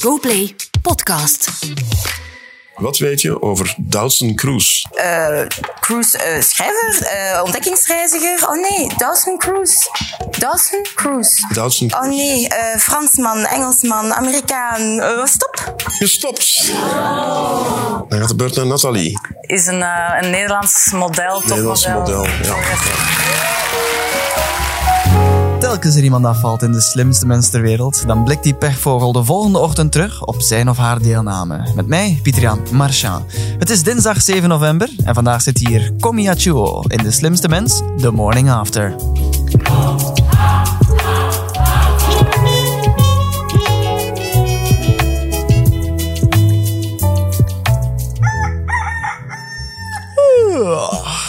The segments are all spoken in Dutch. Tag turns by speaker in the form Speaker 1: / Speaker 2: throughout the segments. Speaker 1: GoPlay Podcast.
Speaker 2: Wat weet je over Dawson Cruise?
Speaker 3: eh, cruise eh, schrijver, eh, ontdekkingsreiziger. Oh nee, Dawson Cruise. Dawson Cruise.
Speaker 2: Dawson
Speaker 3: Oh
Speaker 2: Cruise.
Speaker 3: nee, eh, Fransman, Engelsman, Amerikaan. Eh, stop.
Speaker 2: Gestopt! Dan gaat de beurt naar Nathalie.
Speaker 4: Is een, eh, een Nederlands model,
Speaker 2: Nederlands
Speaker 4: topmodel.
Speaker 2: model, ja.
Speaker 5: Telkens er iemand afvalt in de slimste mens ter wereld, dan blikt die pechvogel de volgende ochtend terug op zijn of haar deelname. Met mij, Pietriaan Marchand. Het is dinsdag 7 november en vandaag zit hier Comiachuo in de slimste mens, The Morning After.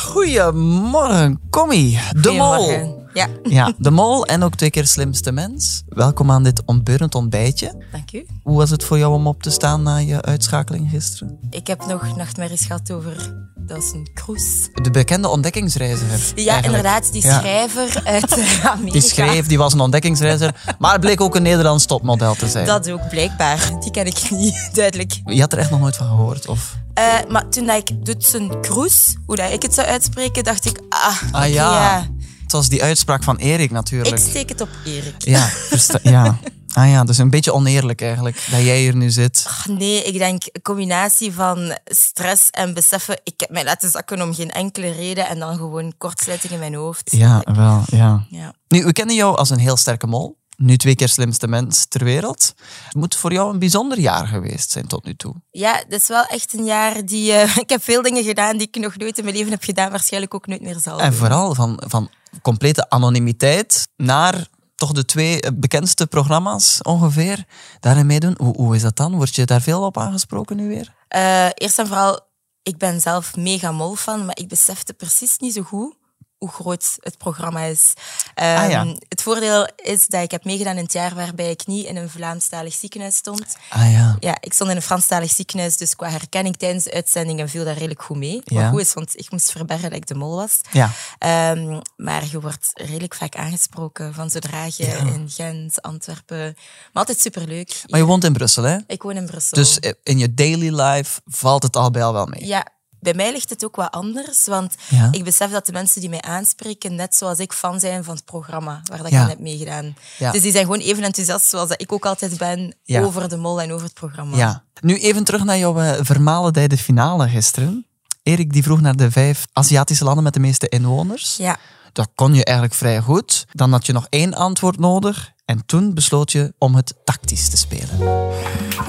Speaker 5: Goedemorgen, Commie, de mol.
Speaker 4: Goedemorgen. Ja,
Speaker 5: Ja, de mol en ook twee keer slimste mens. Welkom aan dit ontbeurend ontbijtje.
Speaker 4: dank u.
Speaker 5: Hoe was het voor jou om op te staan na je uitschakeling gisteren?
Speaker 4: Ik heb nog nachtmerries gehad over Dawson Cruise.
Speaker 5: De bekende ontdekkingsreiziger.
Speaker 4: Ja,
Speaker 5: eigenlijk.
Speaker 4: inderdaad, die
Speaker 5: Ja.
Speaker 4: schrijver uit eh, Amerika.
Speaker 5: Die schreef, die was een ontdekkingsreiziger, maar bleek ook een Nederlands topmodel te zijn.
Speaker 4: Dat ook, blijkbaar. Die ken ik niet, duidelijk.
Speaker 5: Je had er echt nog nooit van gehoord? Of...
Speaker 4: Eh, maar toen dat ik Dutsen Cruise, hoe dat ik het zou uitspreken, dacht ik, ah, oké,
Speaker 5: Ah ja. het was die uitspraak van Erik natuurlijk.
Speaker 4: Ik steek het op Erik.
Speaker 5: Ja, versta- ja. Ah ja, dus een beetje oneerlijk eigenlijk, dat jij hier nu zit.
Speaker 4: Ach, Nee, ik denk een combinatie van stress en beseffen. Ik heb mij laten zakken om geen enkele reden en dan gewoon kortsluiting in mijn hoofd.
Speaker 5: Ja, wel, ja.
Speaker 4: Ja.
Speaker 5: Nu, we kennen jou als een heel sterke mol. Nu twee keer slimste mens ter wereld. Het moet voor jou een bijzonder jaar geweest zijn tot nu toe.
Speaker 4: Ja, dat is wel echt een jaar die... eh, ik heb veel dingen gedaan die ik nog nooit in mijn leven heb gedaan. Waarschijnlijk ook nooit meer zal.
Speaker 5: En vooral van, van complete anonimiteit naar toch de twee eh, bekendste programma's ongeveer daarin meedoen. Hoe, hoe is dat dan? Word je daar veel op aangesproken nu weer?
Speaker 4: Eh, eerst en vooral, ik ben zelf mega mol van, maar ik besefte precies niet zo goed hoe groot het programma is. Ehm,
Speaker 5: Ah, ja.
Speaker 4: Het voordeel is dat ik heb meegedaan in het jaar waarbij ik niet in een Vlaamstalig ziekenhuis stond.
Speaker 5: Ah ja.
Speaker 4: Ja, ik stond in een Franstalig ziekenhuis, dus qua herkenning tijdens de uitzendingen viel dat redelijk goed mee. Wat
Speaker 5: Ja.
Speaker 4: goed is, want ik moest verbergen dat ik de mol was.
Speaker 5: Ja.
Speaker 4: Ehm, maar je wordt redelijk vaak aangesproken van zodra je in Gent, Antwerpen... Maar altijd superleuk.
Speaker 5: Maar je woont in Brussel, hè?
Speaker 4: Ik woon in Brussel.
Speaker 5: Dus eh, in je daily life valt het al bij al wel mee.
Speaker 4: Ja, bij mij ligt het ook wat anders, want
Speaker 5: Ja.
Speaker 4: ik besef dat de mensen die mij aanspreken, net zoals ik, fan zijn van het programma waar dat
Speaker 5: Ja.
Speaker 4: ik aan heb meegedaan.
Speaker 5: Ja.
Speaker 4: Dus die zijn gewoon even enthousiast zoals dat ik ook altijd ben
Speaker 5: Ja.
Speaker 4: over de mol en over het programma.
Speaker 5: Ja. Nu even terug naar jouw eh, vermalen bij de finale gisteren. Erik die vroeg naar de vijf Aziatische landen met de meeste inwoners.
Speaker 4: Ja.
Speaker 5: Dat kon je eigenlijk vrij goed. Dan had je nog één antwoord nodig. En toen besloot je om het tactisch te spelen.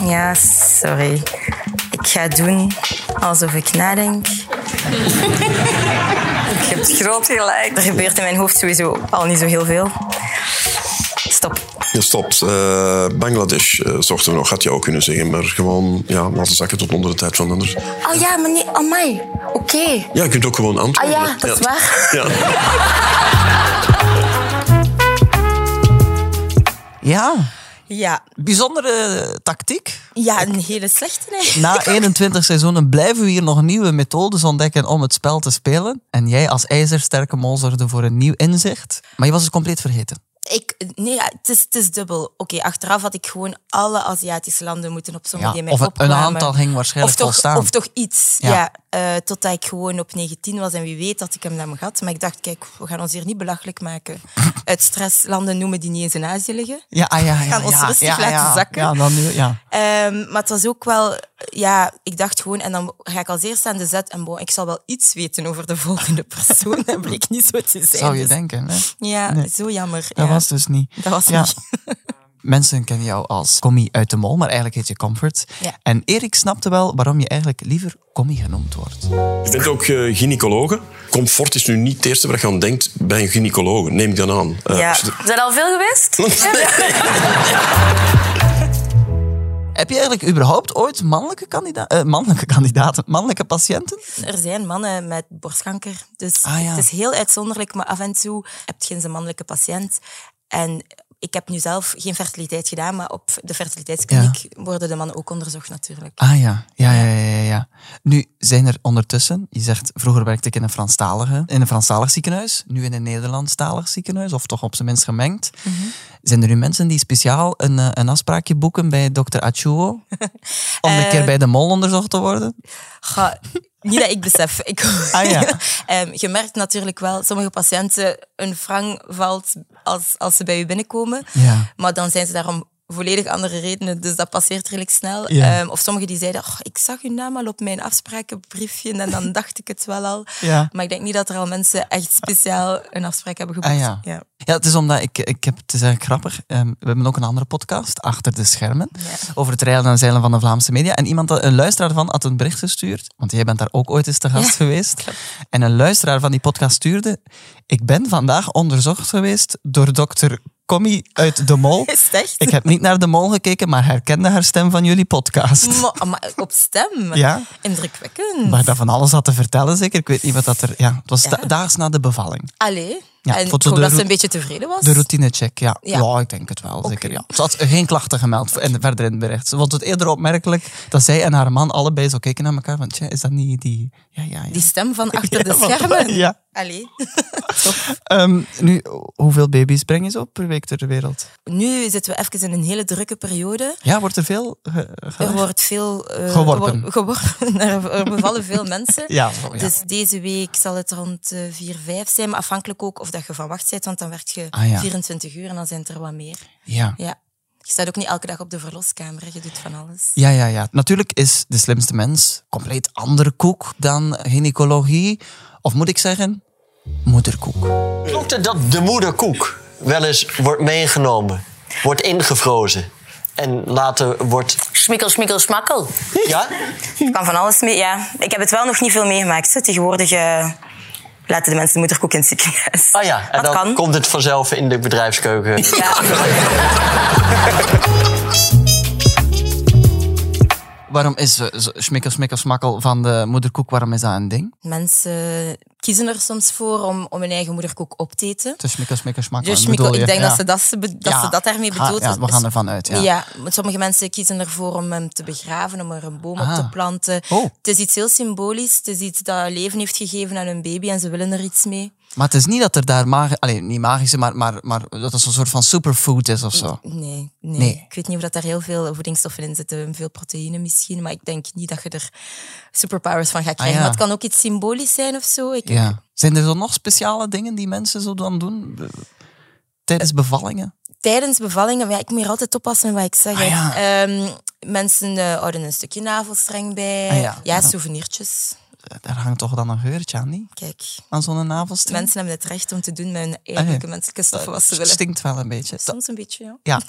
Speaker 4: Ja, sorry. Ik ga doen alsof ik nadenk. ik heb groot gelijk. Er gebeurt in mijn hoofd sowieso al niet zo heel veel. Stop.
Speaker 2: Gestopt. Eh, Bangladesh eh, zochten we nog, had je ook kunnen zeggen. Maar gewoon, ja, laten zakken tot onder de tijd van anders.
Speaker 3: Oh ja, meneer. Amai. Oké.
Speaker 2: Ja, je kunt ook gewoon antwoorden.
Speaker 3: Ah ja, dat is waar.
Speaker 2: Ja.
Speaker 5: Ja,
Speaker 4: Ja,
Speaker 5: bijzondere tactiek.
Speaker 4: ja een hele slechte eigenlijk.
Speaker 5: Na 21 seizoenen blijven we hier nog nieuwe methodes ontdekken om het spel te spelen. En jij als ijzersterke mol zorgde voor een nieuw inzicht. Maar je was het compleet vergeten.
Speaker 4: Ik, nee, ja, het is, het is dubbel. Oké, achteraf had ik gewoon alle Aziatische landen moeten op zo'n
Speaker 5: Ja,
Speaker 4: ja,
Speaker 5: of een aantal ging waarschijnlijk
Speaker 4: of toch,
Speaker 5: volstaan.
Speaker 4: Of toch iets,
Speaker 5: Ja.
Speaker 4: ja. eh, totdat ik gewoon op 19 was en wie weet dat ik hem dan had. Maar ik dacht, kijk, we gaan ons hier niet belachelijk maken. Uit stress landen noemen die niet eens in Azië liggen.
Speaker 5: Ja, ah, ja, ja.
Speaker 4: Gaan ons
Speaker 5: ja,
Speaker 4: rustig
Speaker 5: ja,
Speaker 4: laten
Speaker 5: ja.
Speaker 4: zakken.
Speaker 5: Ja, dan nu, ja.
Speaker 4: Ehm, maar het was ook wel, ja, ik dacht gewoon, en dan ga ik als eerste aan de zet en bon, ik zal wel iets weten over de volgende persoon. Dat bleek niet zo te zijn.
Speaker 5: Zou je
Speaker 4: Dus-
Speaker 5: denken, hè?
Speaker 4: Ja,
Speaker 5: Nee.
Speaker 4: zo jammer. ja.
Speaker 5: Dat was dus niet.
Speaker 4: Dat was
Speaker 5: Ja.
Speaker 4: niet.
Speaker 5: Mensen kennen jou als Commie uit de Mol, maar eigenlijk heet je Comfort.
Speaker 4: Ja.
Speaker 5: En Erik snapte wel waarom je eigenlijk liever Commie genoemd wordt.
Speaker 2: Je bent ook eh gynaecologe. Comfort is nu niet het eerste waar je aan denkt bij een gynaecoloog. Neem ik dan aan. Eh,
Speaker 4: Ja.
Speaker 2: als je de-
Speaker 3: Is dat al veel geweest?
Speaker 5: Heb je eigenlijk überhaupt ooit mannelijke, kandida eh, mannelijke kandidaten, mannelijke patiënten?
Speaker 4: Er zijn mannen met borstkanker. Dus
Speaker 5: Ah, ja.
Speaker 4: het is heel uitzonderlijk, maar af en toe heb je eens een mannelijke patiënt. En ik heb nu zelf geen fertiliteit gedaan, maar op de fertiliteitskliniek worden de mannen ook onderzocht natuurlijk.
Speaker 5: Ah ja. Ja, ja, ja, ja, ja. Nu zijn er ondertussen, je zegt, vroeger werkte ik in een, Franstalige, in een Franstalig ziekenhuis, nu in een Nederlandstalig ziekenhuis, of toch op zijn minst gemengd. Zijn er nu mensen die speciaal een, eh, een afspraakje boeken bij dokter Achuo? Om een keer bij de mol onderzocht te worden?
Speaker 4: Ga, niet dat ik besef. Ik,
Speaker 5: Ah, ja.
Speaker 4: Ehm, je merkt natuurlijk wel, sommige patiënten, een frang valt als, als ze bij u binnenkomen.
Speaker 5: Ja.
Speaker 4: Maar dan zijn ze daarom volledig andere redenen, dus dat passeert redelijk snel.
Speaker 5: Ja.
Speaker 4: Ehm, of sommigen die zeiden, "Oh, ik zag uw naam al op mijn afsprakenbriefje en dan dacht ik het wel al.
Speaker 5: Ja.
Speaker 4: Maar ik denk niet dat er al mensen echt speciaal een afspraak hebben geboekt.
Speaker 5: Ah, ja. Ja, het is omdat ik, ik heb, het is eigenlijk grappig. ehm, we hebben ook een andere podcast, Achter de Schermen, over het reilen en zeilen van de Vlaamse media. En iemand, had- een luisteraar van, had een bericht gestuurd, want jij bent daar ook ooit eens te gast geweest. En een luisteraar van die podcast stuurde, ik ben vandaag onderzocht geweest door dokter Commie uit De Mol.
Speaker 4: Is het echt?
Speaker 5: Ik heb niet naar De Mol gekeken, maar herkende haar stem van jullie podcast.
Speaker 4: Maar, maar op stem.
Speaker 5: Ja.
Speaker 4: Indrukwekkend.
Speaker 5: Maar dat van alles had te vertellen zeker. Ik weet niet wat dat er... Ja, het was da- daags na de bevalling.
Speaker 4: Allee.
Speaker 5: Ja,
Speaker 4: en
Speaker 5: ik
Speaker 4: ik
Speaker 5: vond
Speaker 4: hoop
Speaker 5: zo
Speaker 4: dat
Speaker 5: de
Speaker 4: ze
Speaker 5: roet-
Speaker 4: een beetje tevreden was.
Speaker 5: De routinecheck, ja. ja.
Speaker 4: Ja.
Speaker 5: ik denk het wel, zeker. Ja. Ze had geen klachten gemeld en verder in het bericht. Ze vond het eerder opmerkelijk dat zij en haar man allebei zo keken naar elkaar. Want tja, is dat niet die... Ja, ja, ja.
Speaker 4: Die stem van achter
Speaker 5: Ja,
Speaker 4: de
Speaker 5: want-
Speaker 4: schermen.
Speaker 5: ja.
Speaker 4: Allee.
Speaker 5: Ehm, nu, hoeveel baby's breng je zo per week ter wereld?
Speaker 4: Nu zitten we even in een hele drukke periode.
Speaker 5: Ja, wordt er veel... ge- ge-
Speaker 4: Er wordt veel... eh,
Speaker 5: Ah. Geworpen.
Speaker 4: gewor- geworpen. Er, er bevallen veel mensen.
Speaker 5: Ja, zo, ja.
Speaker 4: Dus deze week zal het rond eh, 4, 5 zijn. Maar afhankelijk ook of dat je van wacht bent, want dan werk je
Speaker 5: Ah, ja.
Speaker 4: 24 uur en dan zijn het er wat meer.
Speaker 5: ja.
Speaker 4: Ja. Je staat ook niet elke dag op de verloskamer. hè. Je doet van alles.
Speaker 5: Ja, ja, ja. Natuurlijk is de slimste mens compleet andere koek dan gynaecologie. Of moet ik zeggen, moederkoek.
Speaker 6: Klopt het dat de moederkoek wel eens wordt meegenomen, wordt ingevrozen en later wordt...
Speaker 3: Schmikkel, schmikkel, smakkel.
Speaker 6: Ja?
Speaker 3: Ik kan van alles mee, ja. Ik heb het wel nog niet veel meegemaakt. hè. Tegenwoordig eh, laten de mensen de moederkoek in het ziekenhuis.
Speaker 6: Ah ja, en
Speaker 3: dat
Speaker 6: dan
Speaker 3: kan.
Speaker 6: komt het vanzelf in de bedrijfskeuken.
Speaker 3: Ja.
Speaker 5: Waarom is eh, zo- smikkel, smikkel, smakkel van de moederkoek, waarom is dat een ding?
Speaker 4: Mensen kiezen er soms voor om, om hun eigen moederkoek op te eten.
Speaker 5: Het is smikkel, smikkel, smakkel.
Speaker 4: Dus
Speaker 5: bedoel
Speaker 4: Mikkel,
Speaker 5: je?
Speaker 4: ik denk
Speaker 5: Ja.
Speaker 4: dat, ze dat, ze be- dat
Speaker 5: Ja.
Speaker 4: ze dat daarmee
Speaker 5: Ga-
Speaker 4: bedoelt. Dus
Speaker 5: ja, we gaan ervan uit, ja.
Speaker 4: want sommige mensen kiezen ervoor om hem te begraven, om er een boom
Speaker 5: Ah.
Speaker 4: op te planten.
Speaker 5: Oh.
Speaker 4: Het is iets heel symbolisch. Het is iets dat leven heeft gegeven aan hun baby en ze willen er iets mee.
Speaker 5: Maar het is niet dat er daar magi- Allee, niet magische, maar, maar, maar dat het een soort van superfood is of zo.
Speaker 4: Nee, nee.
Speaker 5: Nee.
Speaker 4: ik weet niet of dat daar heel veel voedingsstoffen in zitten. Veel proteïne misschien, maar ik denk niet dat je er superpowers van gaat krijgen.
Speaker 5: Ah, ja.
Speaker 4: Maar het kan ook iets symbolisch zijn of zo. Ik,
Speaker 5: Ja. Zijn er zo nog speciale dingen die mensen zo dan doen? eh, Tijdens bevallingen?
Speaker 4: tijdens bevallingen, maar ja, ik moet hier altijd oppassen wat ik zeg. hè.
Speaker 5: Ah, ja.
Speaker 4: Ehm, mensen eh, houden een stukje navelstreng bij.
Speaker 5: Ah, ja.
Speaker 4: ja.
Speaker 5: Ja.
Speaker 4: souvenirtjes.
Speaker 5: Daar hangt toch dan een geurtje aan, niet?
Speaker 4: Kijk,
Speaker 5: Aan zo'n navelstreng?
Speaker 4: mensen hebben het recht om te doen met hun
Speaker 5: Ah,
Speaker 4: eigenlijke menselijke stoffen wat ze
Speaker 5: Het
Speaker 4: willen.
Speaker 5: stinkt wel een beetje.
Speaker 4: Soms een beetje, ja.
Speaker 5: Ja.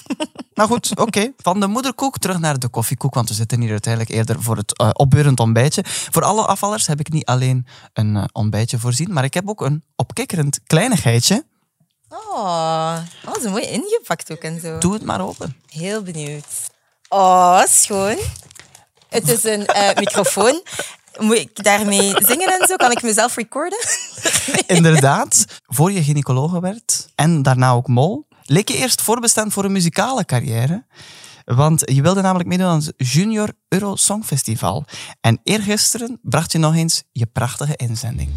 Speaker 5: Maar goed, oké. Van de moederkoek terug naar de koffiekoek, want we zitten hier uiteindelijk eerder voor het eh, opbeurend ontbijtje. Voor alle afvallers heb ik niet alleen een eh, ontbijtje voorzien, maar ik heb ook een opkikkerend kleinigheidje.
Speaker 4: Oh, oh, ze mooi ingepakt ook en zo.
Speaker 5: Ah. Doe het maar open.
Speaker 4: Heel benieuwd. Oh, schoon. Het is een eh, microfoon. Moet ik daarmee zingen en zo? Kan ik mezelf recorden?
Speaker 5: Inderdaad, voor je gynaecologe werd en daarna ook mol, leek je eerst voorbestemd voor een muzikale carrière. Want je wilde namelijk meedoen aan het Junior Euro Song Festival. En eergisteren bracht je nog eens je prachtige inzending.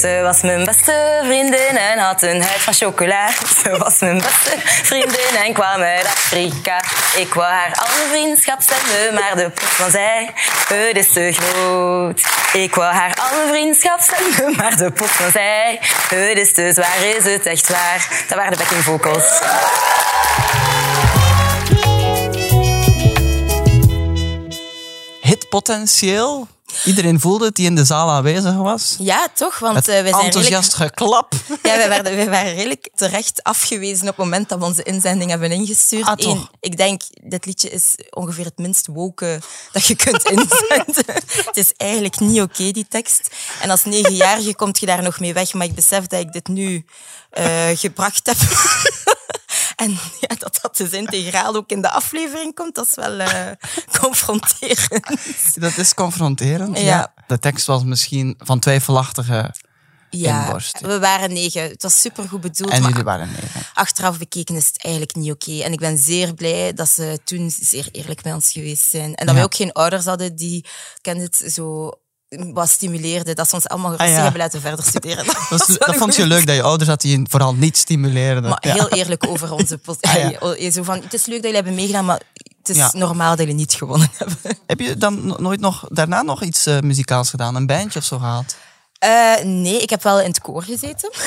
Speaker 3: Ze was mijn beste vriendin en had een huid van chocola. Ze was mijn beste vriendin en kwam uit Afrika. Ik wou haar alle vriendschap zenden, maar de pot van zij, het is te groot. Ik wou haar alle vriendschap zenden, maar de pot van zij, het is te zwaar. Is het echt waar? Dat waren de backing vocals.
Speaker 5: hitpotentieel. Iedereen voelde het die in de zaal aanwezig was.
Speaker 4: Ja, toch?
Speaker 5: Het
Speaker 4: Want eh, wij zijn redelijk
Speaker 5: enthousiast geklap.
Speaker 4: Ja, wij werden, wij waren redelijk terecht afgewezen op het moment dat we onze inzending hebben ingestuurd.
Speaker 5: Ah, toch?
Speaker 4: Eén, ik denk, dit liedje is ongeveer het minst woke dat je kunt inzenden. het is eigenlijk niet oké, die tekst. En als negenjarige komt je daar nog mee weg, maar ik besef dat ik dit nu eh, gebracht heb. en ja, dat dat dus integraal ook in de aflevering komt, dat is wel eh, confronterend.
Speaker 5: Dat is confronterend. Ja.
Speaker 4: Ja.
Speaker 5: De tekst was misschien van twijfelachtige
Speaker 4: Ja,
Speaker 5: inborst.
Speaker 4: we waren negen. Het was supergoed bedoeld,
Speaker 5: En
Speaker 4: maar
Speaker 5: jullie waren negen.
Speaker 4: achteraf bekeken is het eigenlijk niet oké. En ik ben zeer blij dat ze toen zeer eerlijk met ons geweest zijn. En dat
Speaker 5: Ja.
Speaker 4: wij ook geen ouders hadden die, kent het, zo wat stimuleerde, dat ze ons allemaal rustig
Speaker 5: Ah, ja.
Speaker 4: hebben laten verder studeren. Dat,
Speaker 5: Dat,
Speaker 4: was
Speaker 5: is-
Speaker 4: wel
Speaker 5: dat
Speaker 4: een
Speaker 5: vond je
Speaker 4: goeie.
Speaker 5: leuk dat je ouders dat die vooral niet stimuleerden.
Speaker 4: Maar
Speaker 5: Ja. Ah,
Speaker 4: heel eerlijk over onze post.
Speaker 5: Ja, ja.
Speaker 4: Allee, oh, eh, Zo van, het is leuk dat jullie hebben meegedaan, maar het is
Speaker 5: Ja.
Speaker 4: normaal dat jullie niet gewonnen hebben.
Speaker 5: Heb je dan no- nooit nog, daarna nog iets eh, muzikaals gedaan? Een bandje of zo gehad?
Speaker 4: Eh, nee, ik heb wel in het koor gezeten.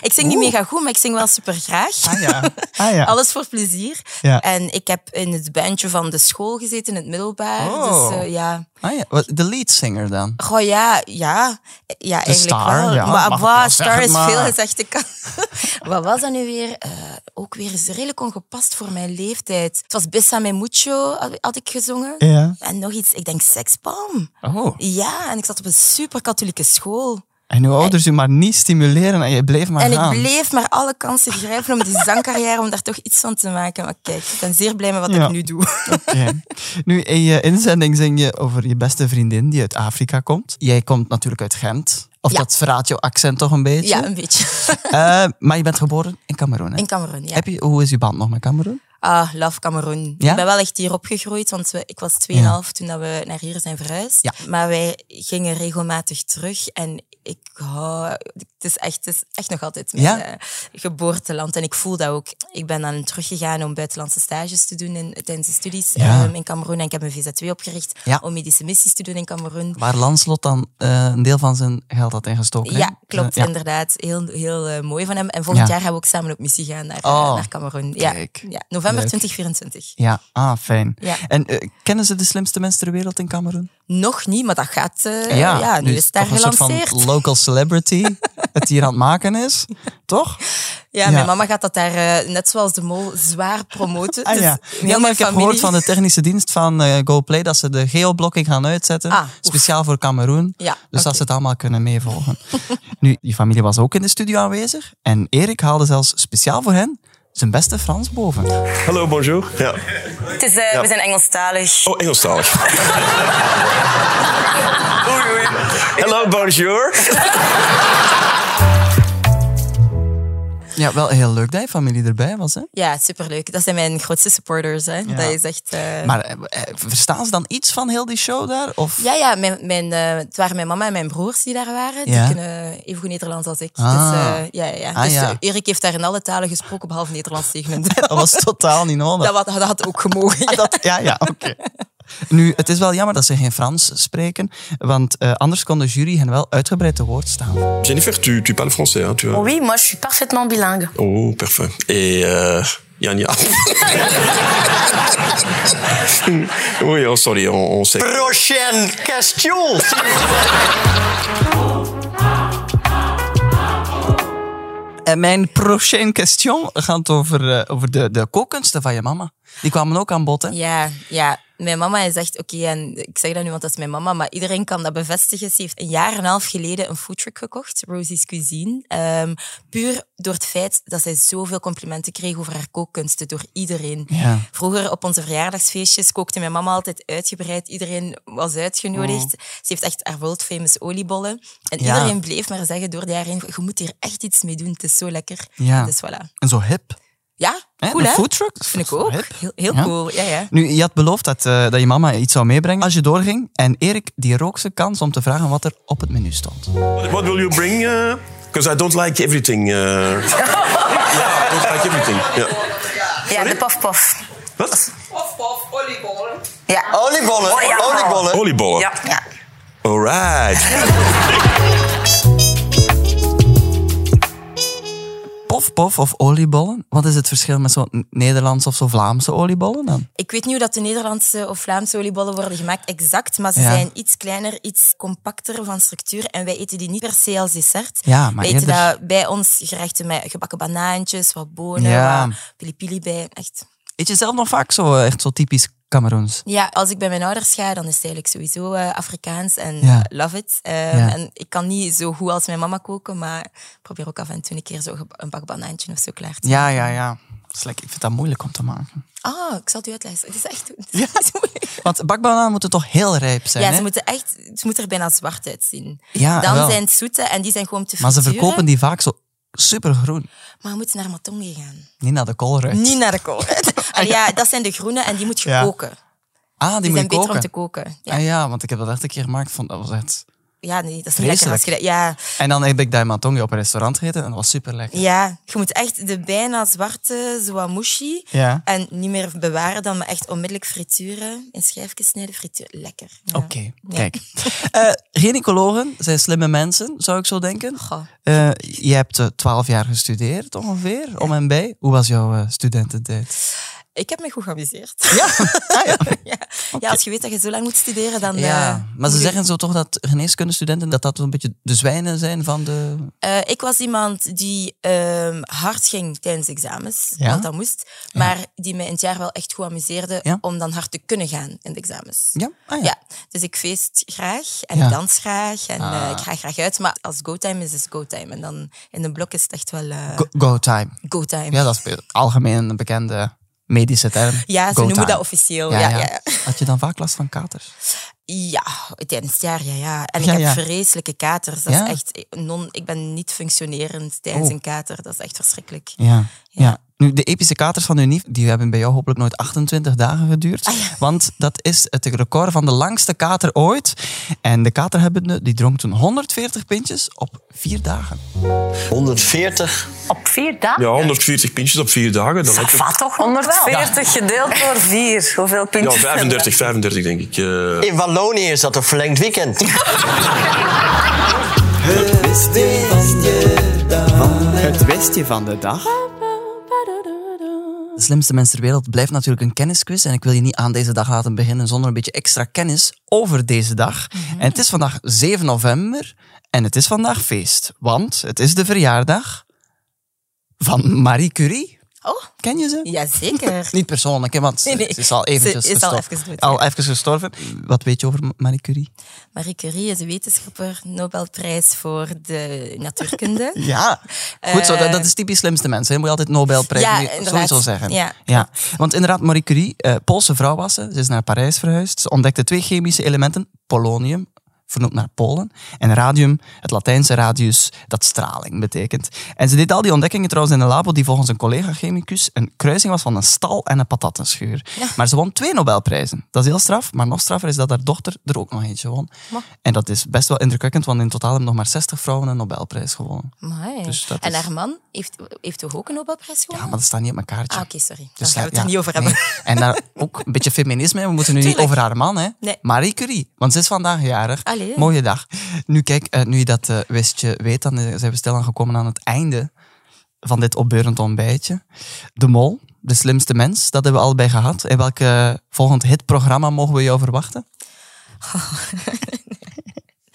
Speaker 4: ik zing niet mega goed, maar ik zing wel super graag.
Speaker 5: Ah ja. Ah ja.
Speaker 4: Alles voor plezier.
Speaker 5: Ja.
Speaker 4: En ik heb in het bandje van de school gezeten, in het middelbaar.
Speaker 5: Oh.
Speaker 4: Dus eh, ja.
Speaker 5: Ah ja. Wat- De lead singer dan?
Speaker 4: Goh, ja, ja. Ja, eigenlijk
Speaker 5: star,
Speaker 4: wel.
Speaker 5: ja, mag
Speaker 4: maar
Speaker 5: ik
Speaker 4: boah,
Speaker 5: wel
Speaker 4: star
Speaker 5: zeggen,
Speaker 4: is
Speaker 5: maar-
Speaker 4: veel gezegd. Ik kan... Wat was dat nu weer? Eh, ook weer is redelijk ongepast voor mijn leeftijd. Het was Bessame Mucho, had, had ik gezongen.
Speaker 5: Ja.
Speaker 4: En nog iets, ik denk Sexpalm.
Speaker 5: Oh.
Speaker 4: Ja, en ik zat op een super katholieke school.
Speaker 5: En uw ouders u maar niet stimuleren en je bleef maar
Speaker 4: En ik
Speaker 5: gaan.
Speaker 4: bleef maar alle kansen grijpen om die zangcarrière, om daar toch iets van te maken. Maar kijk, ik ben zeer blij met wat
Speaker 5: Ja.
Speaker 4: ik nu doe.
Speaker 5: Oké. Nu, in je inzending zing je over je beste vriendin die uit Afrika komt. Jij komt natuurlijk uit Gent. Of
Speaker 4: Ja.
Speaker 5: dat verraadt jouw accent toch een beetje.
Speaker 4: Ja, een beetje.
Speaker 5: Eh, maar je bent geboren in Cameroen, hè?
Speaker 4: In Cameroen, ja.
Speaker 5: Heb je, hoe is je band nog met Cameroen?
Speaker 4: Ah, love Cameroen.
Speaker 5: Ja?
Speaker 4: Ik ben wel echt hier opgegroeid, want we, ik was 2,5 toen dat we naar hier zijn verhuisd.
Speaker 5: Ja.
Speaker 4: Maar wij gingen regelmatig terug en ik hou... Het is echt, het is echt nog altijd mijn
Speaker 5: Ja?
Speaker 4: eh, geboorteland. En ik voel dat ook. Ik ben dan teruggegaan om buitenlandse stages te doen in, tijdens de studies
Speaker 5: Ja.
Speaker 4: ehm, in Cameroen. En ik heb een VZ2 opgericht
Speaker 5: Ja.
Speaker 4: om medische missies te doen in Cameroen.
Speaker 5: Waar Lanslot dan eh, een deel van zijn geld had ingestoken. hè?
Speaker 4: Ja, klopt,
Speaker 5: Eh, ja.
Speaker 4: inderdaad. Heel, heel eh, mooi van hem. En volgend
Speaker 5: Ja.
Speaker 4: jaar gaan we ook samen op missie gaan naar, eh,
Speaker 5: Oh,
Speaker 4: naar Cameroen.
Speaker 5: kijk.
Speaker 4: Ja, ja. november
Speaker 5: Leuk.
Speaker 4: 2024.
Speaker 5: Ja, ah, fijn.
Speaker 4: Ja.
Speaker 5: En eh, kennen ze de slimste mensen ter wereld in Cameroen?
Speaker 4: Nog niet, maar dat gaat. eh, ja, nu is het daar
Speaker 5: toch een soort
Speaker 4: gelanceerd.
Speaker 5: van local celebrity het hier aan het maken is, toch?
Speaker 4: ja,
Speaker 5: ja.
Speaker 4: mijn mama gaat dat daar, eh, net zoals de mol, zwaar promoten.
Speaker 5: Ah,
Speaker 4: Dus
Speaker 5: ja.
Speaker 4: heel
Speaker 5: ja maar
Speaker 4: mijn
Speaker 5: ik heb
Speaker 4: familie-
Speaker 5: gehoord van de technische dienst van eh, GoPlay dat ze de geoblocking gaan uitzetten.
Speaker 4: Ah, oef.
Speaker 5: speciaal voor Cameroen.
Speaker 4: Ja,
Speaker 5: dus
Speaker 4: oké.
Speaker 5: dat ze het allemaal kunnen meevolgen. nu, je familie was ook in de studio aanwezig. En Erik haalde zelfs speciaal voor hen zijn beste Frans boven.
Speaker 2: Hallo, bonjour. Ja.
Speaker 3: Het is, eh, We zijn Engelstalig.
Speaker 2: Oh, Engelstalig.
Speaker 3: Oei, oei.
Speaker 2: Hallo, bonjour.
Speaker 5: Ja, wel heel leuk dat je familie erbij was. Hè?
Speaker 4: Ja, superleuk. Dat zijn mijn grootste supporters. Hè. Dat is echt. eh,
Speaker 5: Maar eh, eh, verstaan ze dan iets van heel die show daar? Of?
Speaker 4: Ja, ja mijn, mijn, eh, het waren mijn mama en mijn broers die daar waren.
Speaker 5: Ja.
Speaker 4: Die kunnen even goed Nederlands als ik.
Speaker 5: Ah.
Speaker 4: Dus, eh, ja, ja, ja.
Speaker 5: Ah,
Speaker 4: dus
Speaker 5: ja.
Speaker 4: eh, Erik heeft daar in alle talen gesproken, behalve Nederlands tegen hun. dat,
Speaker 5: Dat was totaal niet nodig.
Speaker 4: wa- dat had ook gemogen. ja.
Speaker 5: Ah, dat- ja, ja, oké. Nu, het is wel jammer dat ze geen Frans spreken, want eh, anders kon de jury hen wel uitgebreid te woord staan.
Speaker 2: Jennifer, tu, tu parles français, hein, tu vois.
Speaker 7: Oui, moi je suis parfaitement bilingue.
Speaker 2: Oh, parfait. Et euh, Yann Yann. oui, oh, sorry, on, on sait.
Speaker 6: Prochaine question.
Speaker 5: En mijn prochaine question gaat over, eh, over de, de kookkunsten van je mama. Die kwamen ook aan bod, hè?
Speaker 4: Ja, ja. Mijn mama is echt, oké, en ik zeg dat nu, want dat is mijn mama, maar iedereen kan dat bevestigen. Ze heeft een jaar en een half geleden een foodtruck gekocht, Rosie's Cuisine. Ehm, puur door het feit dat zij zoveel complimenten kreeg over haar kookkunsten door iedereen.
Speaker 5: Ja.
Speaker 4: Vroeger op onze verjaardagsfeestjes kookte mijn mama altijd uitgebreid. Iedereen was uitgenodigd. Ze heeft echt haar world famous oliebollen. En
Speaker 5: Oh. Ja.
Speaker 4: iedereen bleef maar zeggen door de jaren heen, je moet hier echt iets mee doen, het is zo lekker.
Speaker 5: Ja.
Speaker 4: Dus voilà.
Speaker 5: En zo hip.
Speaker 4: Ja,
Speaker 5: Hè?
Speaker 4: cool
Speaker 5: een
Speaker 4: hè?
Speaker 5: foodtruck.
Speaker 4: Vind ik
Speaker 5: Zo
Speaker 4: ook.
Speaker 5: hip.
Speaker 4: Heel, heel
Speaker 5: Ja.
Speaker 4: cool, ja ja.
Speaker 5: Nu, je had beloofd dat, eh, dat je mama iets zou meebrengen als je doorging. En Erik, die rook zijn kans om te vragen wat er op het menu stond.
Speaker 2: What will you bring? Because I don't like everything. Uh... yeah, I don't like everything. Yeah.
Speaker 3: Ja, de paf-paf.
Speaker 2: Wat?
Speaker 3: Ja.
Speaker 6: Oliebollen.
Speaker 3: Oh, ja.
Speaker 6: Oliebollen.
Speaker 2: Oliebollen.
Speaker 3: Ja. ja.
Speaker 2: All right.
Speaker 5: Pof, pof of oliebollen? Wat is het verschil met zo'n Nederlandse of zo Vlaamse oliebollen dan?
Speaker 4: Ik weet niet hoe dat de Nederlandse of Vlaamse oliebollen worden gemaakt exact, maar ze
Speaker 5: Ja.
Speaker 4: zijn iets kleiner, iets compacter van structuur. En wij eten die niet per se als dessert.
Speaker 5: Ja, maar
Speaker 4: wij eten
Speaker 5: eerder-
Speaker 4: dat bij ons gerechten met gebakken banaantjes, wat bonen,
Speaker 5: Ja.
Speaker 4: wat pilipili bij. Echt.
Speaker 5: Eet je zelf nog vaak zo eh, echt zo typisch Cameroens?
Speaker 4: Ja, als ik bij mijn ouders ga, dan is het eigenlijk sowieso eh, Afrikaans en
Speaker 5: Ja.
Speaker 4: eh, love it. Ehm,
Speaker 5: Ja.
Speaker 4: En ik kan niet zo goed als mijn mama koken, maar ik probeer ook af en toe een keer zo geba- een bak banaantje of zo klaar te
Speaker 5: Ja, ja, ja. Dat is lekker. ik vind dat moeilijk om te maken.
Speaker 4: Ah, ik zal het u uitleggen. Het is echt het is niet zo moeilijk.
Speaker 5: Want bakbananen moeten toch heel rijp zijn,
Speaker 4: Ja,
Speaker 5: hè?
Speaker 4: ze moeten echt, ze moeten er bijna zwart uitzien.
Speaker 5: Ja,
Speaker 4: Dan
Speaker 5: wel.
Speaker 4: zijn het zoete en die zijn gewoon te
Speaker 5: Maar ze
Speaker 4: frituren.
Speaker 5: verkopen die vaak zo supergroen.
Speaker 4: Maar we moeten naar Matonge gaan. Ah,
Speaker 5: Niet naar de koolruit.
Speaker 4: Niet naar de kool. Allee, ja, dat zijn de groene en die moet je
Speaker 5: Ja.
Speaker 4: koken.
Speaker 5: Ah, die,
Speaker 4: Die
Speaker 5: moet
Speaker 4: zijn
Speaker 5: je
Speaker 4: beter
Speaker 5: koken.
Speaker 4: om te koken. Ja,
Speaker 5: Ah ja, want ik heb dat echt een keer gemaakt. Vond, dat was echt...
Speaker 4: ja nee, dat is niet
Speaker 5: Vreselijk.
Speaker 4: lekker. Als je dat, ja,
Speaker 5: En dan heb ik daimatongi op een restaurant gegeten en dat was super lekker.
Speaker 4: ja, je moet echt de bijna zwarte zwamushi
Speaker 5: Ja.
Speaker 4: en niet meer bewaren dan, maar echt onmiddellijk frituren, in schijfjes snijden, frituren. Lekker. Ja.
Speaker 5: Oké, kijk. Eh gynaecologen zijn slimme mensen, zou ik zo denken.
Speaker 4: Goh.
Speaker 5: Eh, je hebt twaalf jaar gestudeerd ongeveer, om en bij. Hoe was jouw eh, studententijd?
Speaker 4: Ik heb me goed geamuseerd.
Speaker 5: Ja, ah, ja.
Speaker 4: ja. ja, als je weet dat je zo lang moet studeren, dan... eh,
Speaker 5: ja. maar ze
Speaker 4: moet je-
Speaker 5: zeggen zo toch dat geneeskundestudenten dat dat een beetje de zwijnen zijn van de...
Speaker 4: Eh, ik was iemand die ehm, hard ging tijdens examens,
Speaker 5: Ja?
Speaker 4: want dat moest. Maar die mij in het jaar wel echt goed amuseerde
Speaker 5: Ja?
Speaker 4: om dan hard te kunnen gaan in de examens.
Speaker 5: Ja? Ah, ja.
Speaker 4: Ja, dus ik feest graag en
Speaker 5: Ja. Ah.
Speaker 4: ik dans graag en eh, ik ga graag uit. Maar als go-time is, is go-time. En dan in een blok is het echt wel eh,
Speaker 5: Go, go time.
Speaker 4: go-time.
Speaker 5: Ja, dat is be- algemeen een bekende medische term.
Speaker 4: Ja, ze
Speaker 5: Go
Speaker 4: noemen
Speaker 5: time.
Speaker 4: dat officieel. Ja, ja, ja.
Speaker 5: Had je dan vaak last van katers?
Speaker 4: tijdens het jaar, ja, ja. En ik
Speaker 5: Ja,
Speaker 4: heb
Speaker 5: ja.
Speaker 4: vreselijke katers. Dat
Speaker 5: Ja?
Speaker 4: is echt non, ik ben niet functionerend tijdens
Speaker 5: Oh.
Speaker 4: een kater. Dat is echt verschrikkelijk.
Speaker 5: Ja. ja.
Speaker 4: Ja.
Speaker 5: Nu, de epische katers van Unif, die hebben bij jou hopelijk nooit 28 dagen geduurd.
Speaker 4: Ah,
Speaker 5: Want dat is het record van de langste kater ooit. En de katerhebbende, die dronk toen 140 pintjes op vier dagen.
Speaker 6: 140.
Speaker 7: Op vier dagen?
Speaker 2: Ja, 140 pintjes op vier dagen. Dan heb je-
Speaker 3: Wat toch? 140 gedeeld door 4. Hoeveel
Speaker 2: ja,
Speaker 3: puntjes?
Speaker 2: 35, 35 denk ik. eh.
Speaker 6: In Wallonië is dat een verlengd weekend.
Speaker 5: Het westje van de dag. De slimste mens ter wereld blijft natuurlijk een kennisquiz. En ik wil je niet aan deze dag laten beginnen zonder een beetje extra kennis over deze dag.
Speaker 4: Mhm.
Speaker 5: En het is vandaag 7 november en het is vandaag feest. Want het is de verjaardag van Marie Curie.
Speaker 4: Oh.
Speaker 5: Ken je ze?
Speaker 4: Jazeker.
Speaker 5: Niet persoonlijk, hè, want
Speaker 4: Nee, nee.
Speaker 5: ze is al eventjes
Speaker 4: Ze is al
Speaker 5: gestorven.
Speaker 4: even dood,
Speaker 5: al even gestorven. Wat weet je over Marie Curie?
Speaker 4: Marie Curie is wetenschapper, Nobelprijs voor de natuurkunde.
Speaker 5: Ja, goed zo. Dat, dat is typisch slimste mensen. hè. Moet je altijd Nobelprijs
Speaker 4: Ja,
Speaker 5: moet je
Speaker 4: inderdaad.
Speaker 5: sowieso zeggen.
Speaker 4: Ja.
Speaker 5: Want inderdaad, Marie Curie, eh, Poolse vrouw was ze. Ze is naar Parijs verhuisd. Ze ontdekte twee chemische elementen. Polonium, vernoemd naar Polen. En radium, het Latijnse radius, dat straling betekent. En ze deed al die ontdekkingen trouwens in een labo die volgens een collega-chemicus een kruising was van een stal en een patattenschuur. Maar ze won twee Nobelprijzen. Dat is heel straf. Maar nog straffer is dat haar dochter er ook nog eentje won. En dat is best wel indrukwekkend, want in totaal hebben nog maar 60 vrouwen een Nobelprijs gewonnen.
Speaker 4: Amai.
Speaker 5: Dus dat
Speaker 4: en
Speaker 5: is-
Speaker 4: haar man heeft, heeft toch ook een Nobelprijs
Speaker 5: Ja,
Speaker 4: gewonnen?
Speaker 5: maar dat staat niet op mijn kaartje.
Speaker 4: Ah, oké, sorry. Dan
Speaker 5: Dus
Speaker 4: gaan we het
Speaker 5: ja,
Speaker 4: er niet over hebben.
Speaker 5: nee. En daar ook een beetje feminisme. hè. We moeten nu niet
Speaker 4: Tuurlijk.
Speaker 5: over haar man, hè?
Speaker 4: Nee.
Speaker 5: Marie Curie, want ze is vandaag jarig.
Speaker 4: Allee.
Speaker 5: Mooie dag. Nu kijk, eh, nu je dat eh, wistje weet, dan eh, zijn we stilaan gekomen aan het einde van dit opbeurend ontbijtje. De Mol, de slimste mens, dat hebben we al bij gehad. En welk eh, volgend hitprogramma mogen we jou verwachten?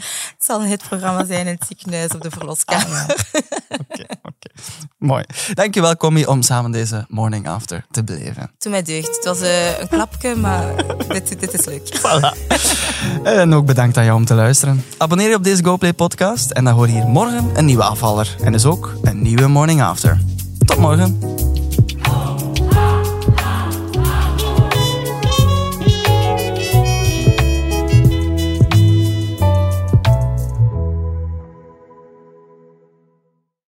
Speaker 4: Het zal een hitprogramma zijn in het ziekenhuis op de verloskamer.
Speaker 5: Ah, Mooi. Dankjewel, Commie, om samen deze Morning After te beleven.
Speaker 4: Toen mij deugd. Het was eh, een klapje, maar dit, dit is leuk.
Speaker 5: En ook bedankt aan jou om te luisteren. Abonneer je op deze GoPlay podcast en dan hoor je hier morgen een nieuwe afvaller. En dus ook een nieuwe Morning After. Tot morgen.